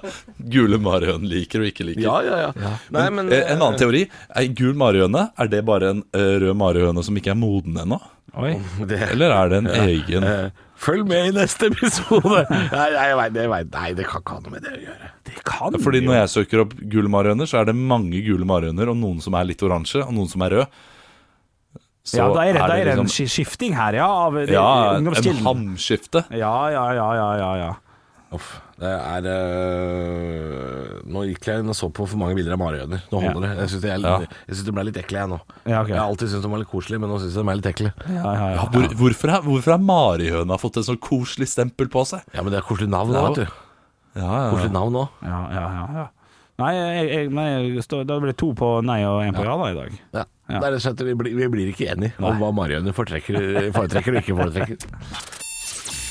gule marihøner liker og ikke liker.
Ja, ja, ja. Nei, men,
Eh, En annen teori. Ei gul marihøne, er det bare en eh, rød marihøne som ikke er moden ennå?
<laughs> Oi.
det,
Eller er det en egen
eh, Følg med i neste episode! <laughs> Nei, nei, jeg vet- jeg vet- nei, det kan ikke ha noe med det å gjøre.
Det kan
Ja, Fordi når jeg søker opp gule marihøner, så er det mange gule marihøner, og noen som er litt oransje, og noen som er rød. Så
Ja, da er det, da er det en
liksom-
sk- skifting her, ja. Av det,
ja, en
ungdomskilden.
hamskifte.
Ja, ja, ja, ja, ja, ja.
Uff, det er eh, Nå gikk jeg inn og så på for mange bilder av marihøner. Nå holder det. Jeg syns de, er litt- jeg synes de ble litt ekle, jeg nå.
Ja, ok.
Jeg har alltid syntes de var litt koselige, men nå syns jeg de er litt ekle.
ja, ja, ja.
Hvor, hvorfor har- hvorfor har marihøna fått en sånn koselig stempel på seg?
Ja, men det er koselig navn òg, vet du.
Ja, ja,
Koselig navn òg.
ja, ja, ja, ja. Nei, jeg, jeg, nei jeg står, da blir det to på nei og én på ja da i dag.
Ja. Det er rett og slett, vi, blir, vi blir ikke enige om hva marihøner foretrekker, eh, foretrekker og ikke foretrekker.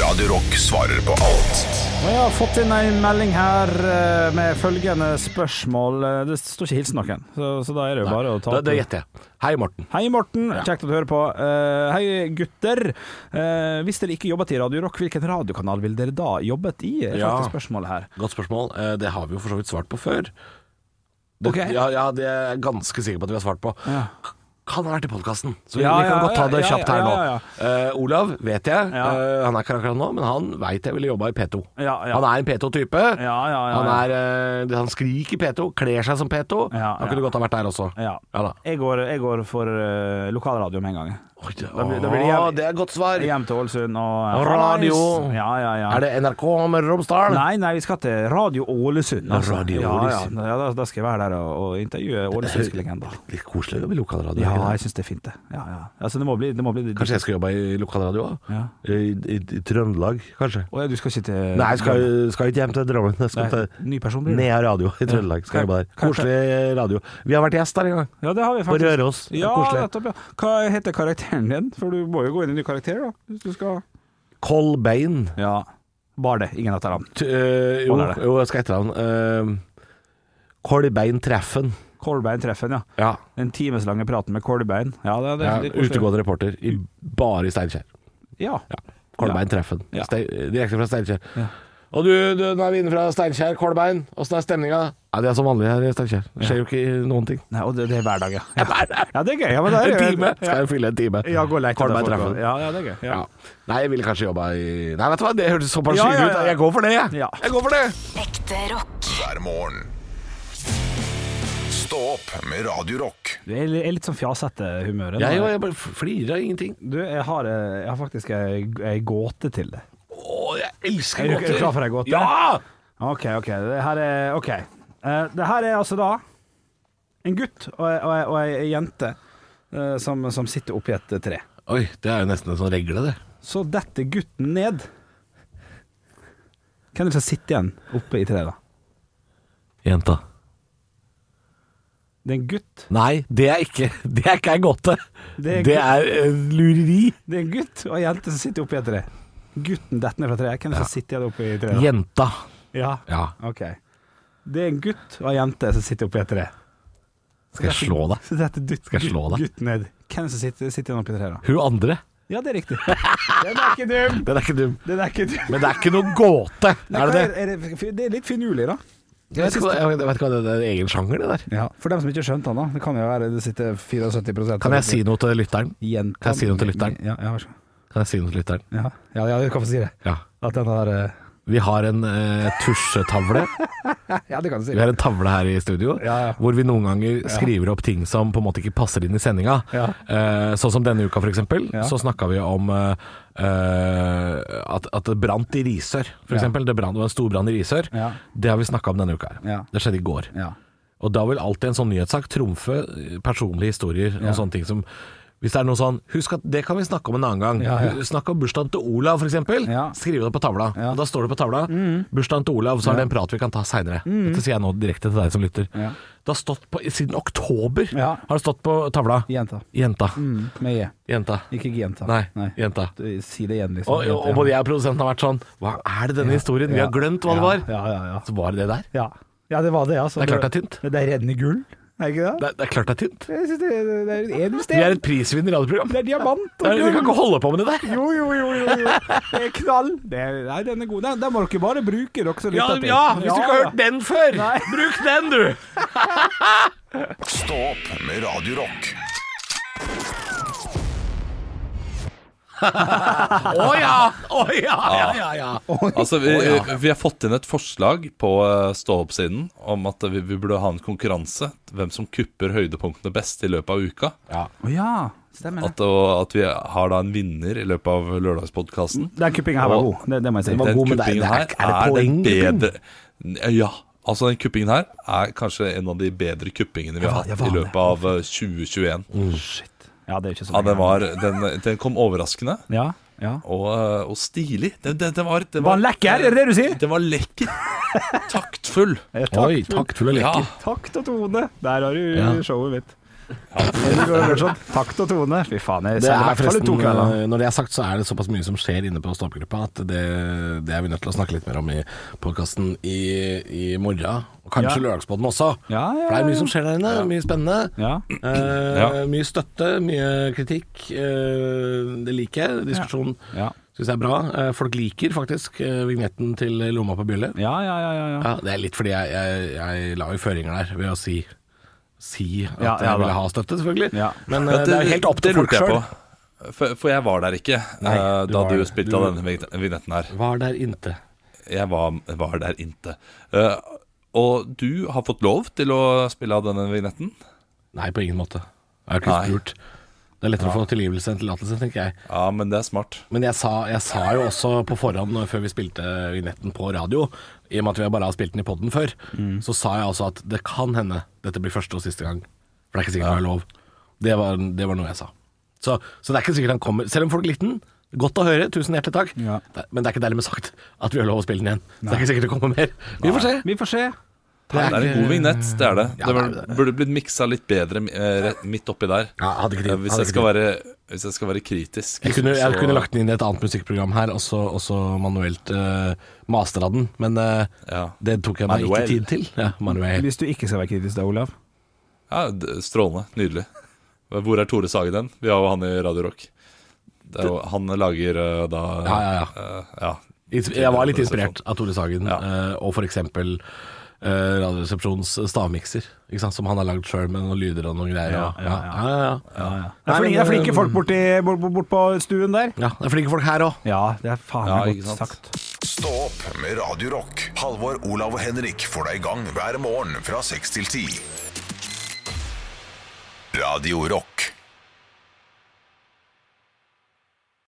Radio Rock svarer på alt.
Og jeg har fått inn en melding her eh, med følgende spørsmål. Eh, Det står ikke 'hils noen', så, så da er det jo <laughs> bare å ta
Det, det gjetter jeg. Hei, Morten.
Hei, Morten. Kjekt at du hører på. Eh, hei, gutter. Eh, hvis dere ikke jobbet i Radio Rock, hvilken radiokanal ville dere da jobbet i? Er
Ja.
faktisk spørsmålet her.
Godt spørsmål. Eh, Det har vi jo for så vidt svart på før. Det,
Ok.
ja, ja, det er jeg ganske sikker på at vi har svart på.
Ja.
K- Kan ha vært i podkasten, så vi,
Ja,
vi kan
ja,
godt ta
ja,
det
ja,
kjapt her
ja,
nå.
ja,
Eh, Olav vet jeg.
Ja.
eh, han er ikke her akkurat nå, men han veit jeg ville jobba i P2.
Ja, ja.
Han er en P2-type.
Ja, ja, ja,
han, er, eh, han skriker P2, kler seg som P2.
Ja,
han
ja.
kunne godt ha vært der også.
Ja.
Ja da.
Jeg går, jeg går for eh, lokalradio med en gang.
Oi, det,
Da blir- da blir det
Å,
jævlig-
det er godt svar.
Hjem til Ålesund og eh,
Og radio.
Ja, ja, ja.
Er det NRK med Romsdal?
Nei, nei, vi skal til Radio Ålesund. altså.
Radio
ja,
Ålesund.
Ja, ja, da, da skal jeg være der og, og intervjue ålesundske legender.
Litt koselig med lokalradio.
Ja,
ikke det?
jeg syns det er fint, det. Ja, ja. Altså, det må bli, det må bli
Kanskje jeg skal jobbe i lokalradio òg?
Ja.
I, i, I Trøndelag, kanskje.
Å ja, du skal ikke til
Nei, jeg skal, skal ikke hjem til Drammen. Jeg skal
Nei,
til
Ny person blir det.
Nea radio i Trøndelag. Skal jobbe der.
Kan-
Koselig eh, radio. Vi har vært gjest der en gang.
Ja, det har vi
På
faktisk.
Røros. Det er
Ja,
Koselig.
nettopp, ja. Hva heter karakteren din? For du må jo gå inn i ny karakter, da. Hvis du skal
Colbain.
Ja. Bare det. Ingen etternavn.
T øh, jo,
Hva er det?
jo, jeg skal etter han. Uh, Colbain Treffen.
Kolbein-treffen, ja.
Ja.
Den timeslange praten med Kolbein. Ja, det, det,
ja
det, det
utegående reporter. I, bare i Steinkjer.
Ja.
Kolbein Treffen.
Ja.
Ste direkte fra Steinkjer. Og du, du, nå er vi inne fra Steinkjer, Kolbein. Åssen er stemninga? Nei, det er som vanlig her i Steinkjer. Det skjer jo ikke noen ting.
Nei, og det, det er hverdag, ja. ja. Ja, det er gøy. Ja, men det er,
En time! Skal jo fylle en time.
Ja, gå og lete
Kolberg
etter
treffer.
folk. Ja, ja, det er gøy. Ja.
Ja. Nei, jeg ville kanskje jobba i Nei, vet du hva, det hørtes såpass
Ja,
sykt
ja,
ut.
ja.
Jeg går for det, jeg.
Ja.
Jeg går for det.
Ekte rock.
hver morgen. Stå opp med Radio Rock.
Du er li- er litt sånn fjasete humør.
Jeg, jeg, jeg bare flirer av ingenting.
Du, jeg har, eh, jeg har faktisk ei, ei gåte til deg.
Å, jeg elsker
Er du
gåter.
klar for ei gåte?
Ja!
OK, OK. Det her er OK. Eh, det her er altså da en gutt og ei, og ei, og ei jente eh, som, som sitter oppi et tre.
Oi, det er jo nesten en sånn regle, det.
Så detter gutten ned. Hvem er det som sitter igjen oppe i treet, da?
Jenta.
Det er en gutt.
Nei, det er ikke <laughs> Det er ikke ei gåte. Det
er
er, eh, lureri.
Det er en gutt og ei jente som sitter oppi et tre. Gutten detter ned fra treet. Hvem er det som sitter igjen oppe i treet? da?
Jenta.
Ja.
Ja.
OK. Det er en gutt og ei jente som sitter oppi et tre.
Skal jeg slå deg?
Så dette dytt,
Skal jeg slå deg?
gutten ned. Hvem som sitter, sitter igjen oppi treet, da?
Hun andre.
Ja, det er
<laughs>
riktig. Den er ikke dum!
Den er ikke dum.
Den er ikke dum.
Men det er ikke noe <laughs> gåte, er det det?
Er det, det er litt finurlig, da.
Jeg vet, ikke, hva- jeg vet ikke hva det, det er en egen sjanger, det der.
For dem som ikke skjønte han, da. Det kan jo være det sitter 74
Kan jeg si noe til lytteren?
Jenta-
Kan jeg si noe til lytteren?
Ja, ja, vær så god.
Kan jeg si noe til lytteren?
Ja, ja, ja, du kan få si det.
Ja.
At den har eh,
Vi har en eh, tusjetavle.
<laughs> Ja, det kan du si.
Vi har en tavle her i studio
Ja, ja.
hvor vi noen ganger skriver opp ting som på en måte ikke passer inn i sendinga.
Ja.
Eh, sånn som denne uka, for eksempel.
Ja.
Så snakka vi om eh, eh, at, at det brant i Risør, for
Ja.
eksempel. Det, brant, det var en storbrann i Risør.
Ja.
Det har vi snakka om denne uka her.
Ja.
Det skjedde i går.
Ja.
Og da vil alltid en sånn nyhetssak trumfe eh, personlige historier og sånne ting som hvis det er noe sånn Husk at det kan vi snakke om en annen gang.
Ja, ja.
Snakk om bursdagen til Olav, f.eks.
Ja.
Skriv det på tavla.
Ja. Mm.
Og da står det på tavla 'Bursdagen til Olav', så er det en prat vi kan ta seinere. Dette sier jeg nå direkte til deg som lytter.
Ja.
Det har stått på Siden oktober
Ja.
har det stått på tavla
Jenta.
'Jenta'.
Mm, med J.
Jenta.
Ikke jenta.
Nei, jenta.
Du, Si det igjen, liksom.
Og, og, og både jeg og produsenten har vært sånn Hva er det denne historien? Vi har glemt hva det var.
Ja, ja, ja.
Så var det det der.
Ja, ja det var det, altså.
Det er klart det er tynt.
Det er reddende gull, er det ikke det?
Det er, det er klart det er tynt.
Jeg synes det, det det er en
Vi er
edelsten.
et prisvinnende radioprogram.
Det er diamant
Nei,
og
Vi kan
gull.
ikke holde på med det der.
Jo, jo, jo, jo, jo. Det er knall. Det er, nei, den er god. Den, den må dere bare bruke, dere som
Ja,
lytter til.
ja, hvis du ikke har hørt den før,
Nei.
bruk den, du!
Stå opp med Radio Rock.
Å ja! Å ja, ja, ja, ja.
Altså, vi, vi har fått inn et forslag på eh, stå-opp-siden om at vi, vi burde ha en konkurranse. Hvem som kupper høydepunktene best i løpet av uka.
Å ja, stemmer det.
At, og, at vi har da en vinner i løpet av lørdagspodkasten.
Den kuppingen her var god, det, det må jeg si.
var
Den
god, men det er- det
kuppingen
er-
her
er det poeng,
den bedre Ja. Altså, den kuppingen her er kanskje en av de bedre kuppingene vi har
jeg
hatt
var
i
med.
løpet av eh, 2021.
Mm.
Ja, det er jo ikke så
Ja,
lenge.
den, var, den, den kom overraskende
Ja, ja.
og, eh, og stilig. Den, den, den var, den
Var den lekker, er det det du sier?
Den var lekker.
<laughs>
Taktfull.
Oi, taktfull og
Ja.
lekker.
Takt og tone. Der har du
Ja.
showet mitt. Det går fortsatt. Takt og tone. Fy faen, jeg
Det
sender i
er
hvert fall i
forresten,
to kvelder.
eh, når det er sagt, så er det såpass mye som skjer inne på stoppgruppa at det, det er vi nødt til å snakke litt mer om i podkasten i, i morgen. Og kanskje
Ja.
Lørdagspodden også.
Ja, ja,
For det er
ja.
mye som skjer der inne. Mye spennende.
Ja.
Eh,
Ja.
Mye støtte, mye kritikk. Eh, det liker jeg. Diskusjon
Ja.
syns jeg er bra. Eh, folk liker faktisk eh, vignetten til Lomma på bjelle.
Ja, ja, ja, ja, ja.
Ja, det er litt fordi jeg, jeg, jeg la jo føringer der ved å si Si at
Ja, ja
jeg ville
da.
ha støtte, selvfølgelig.
Ja.
Men eh, det er jo helt opp til
det
folk
lurte jeg
sjøl.
på. For, for jeg var der ikke eh,
du
da
var
du
der.
spilte
Du-
av denne vignet- vignetten her.
Var der inte.
Jeg var, var der inte. Eh, og du har fått lov til å spille av denne vignetten.
Nei, på ingen måte. Jeg har ikke
Nei.
spurt. Det er lettere å få tilgivelse enn tillatelse, tenker jeg.
Ja, men det er smart.
Men jeg sa, jeg sa jo også på forhånd, når- før vi spilte vignetten på radio, i og med at vi bare har spilt den i poden før,
Mm.
så sa jeg også at det kan hende dette blir første og siste gang. For det er ikke sikkert det er lov. Det var, det var noe jeg sa. Så, så det er ikke sikkert han kommer. Selv om folk likte den, godt å høre, tusen hjertelig takk.
Ja.
Det- Men det er ikke dermed sagt at vi har lov å spille den igjen. Så det er ikke sikkert det kommer mer. Vi får se.
Vi får se.
Det er en god vignett, det er det.
Ja,
det, var,
det er det.
burde blitt miksa litt bedre eh, rett- midt oppi der.
Ja, hadde ikke tid.
Eh, hvis,
Hadde
jeg
ikke
skal være, hvis jeg skal være kritisk.
Jeg kunne, jeg
så-
kunne lagt den inn i et annet musikkprogram her, og så og så manuelt uh, mastra den, men eh,
ja.
det tok jeg meg
Manuel.
ikke tid til. Ja, manuel.
Hvis du ikke skal være kritisk da, Olav.
ja, d- Strålende. Nydelig. Hvor er Tore Sagen hen? Vi har jo han i Radio Rock. Det er jo, han lager eh, da
Ja, ja,
eh, ja.
Ins- Jeg var litt inspirert av Tore Sagen,
Ja.
eh, og for eksempel eh, Radioresepsjonens stavmikser, ikke sant? som han har lagd sjøl med noen lyder og noen greier. og- Ja, ja, ja.
Det
Nei,
er, flinke, det er
men, eh,
flinke folk bort, i, bort, bort på stuen der.
Ja, det er flinke folk her òg.
Ja, det er faen
Ja,
meg
ikke
godt
sant.
sagt.
Stå opp med Radio Rock. Halvor, Olav og Henrik får deg i gang hver morgen fra 6 til 10. Radio Rock.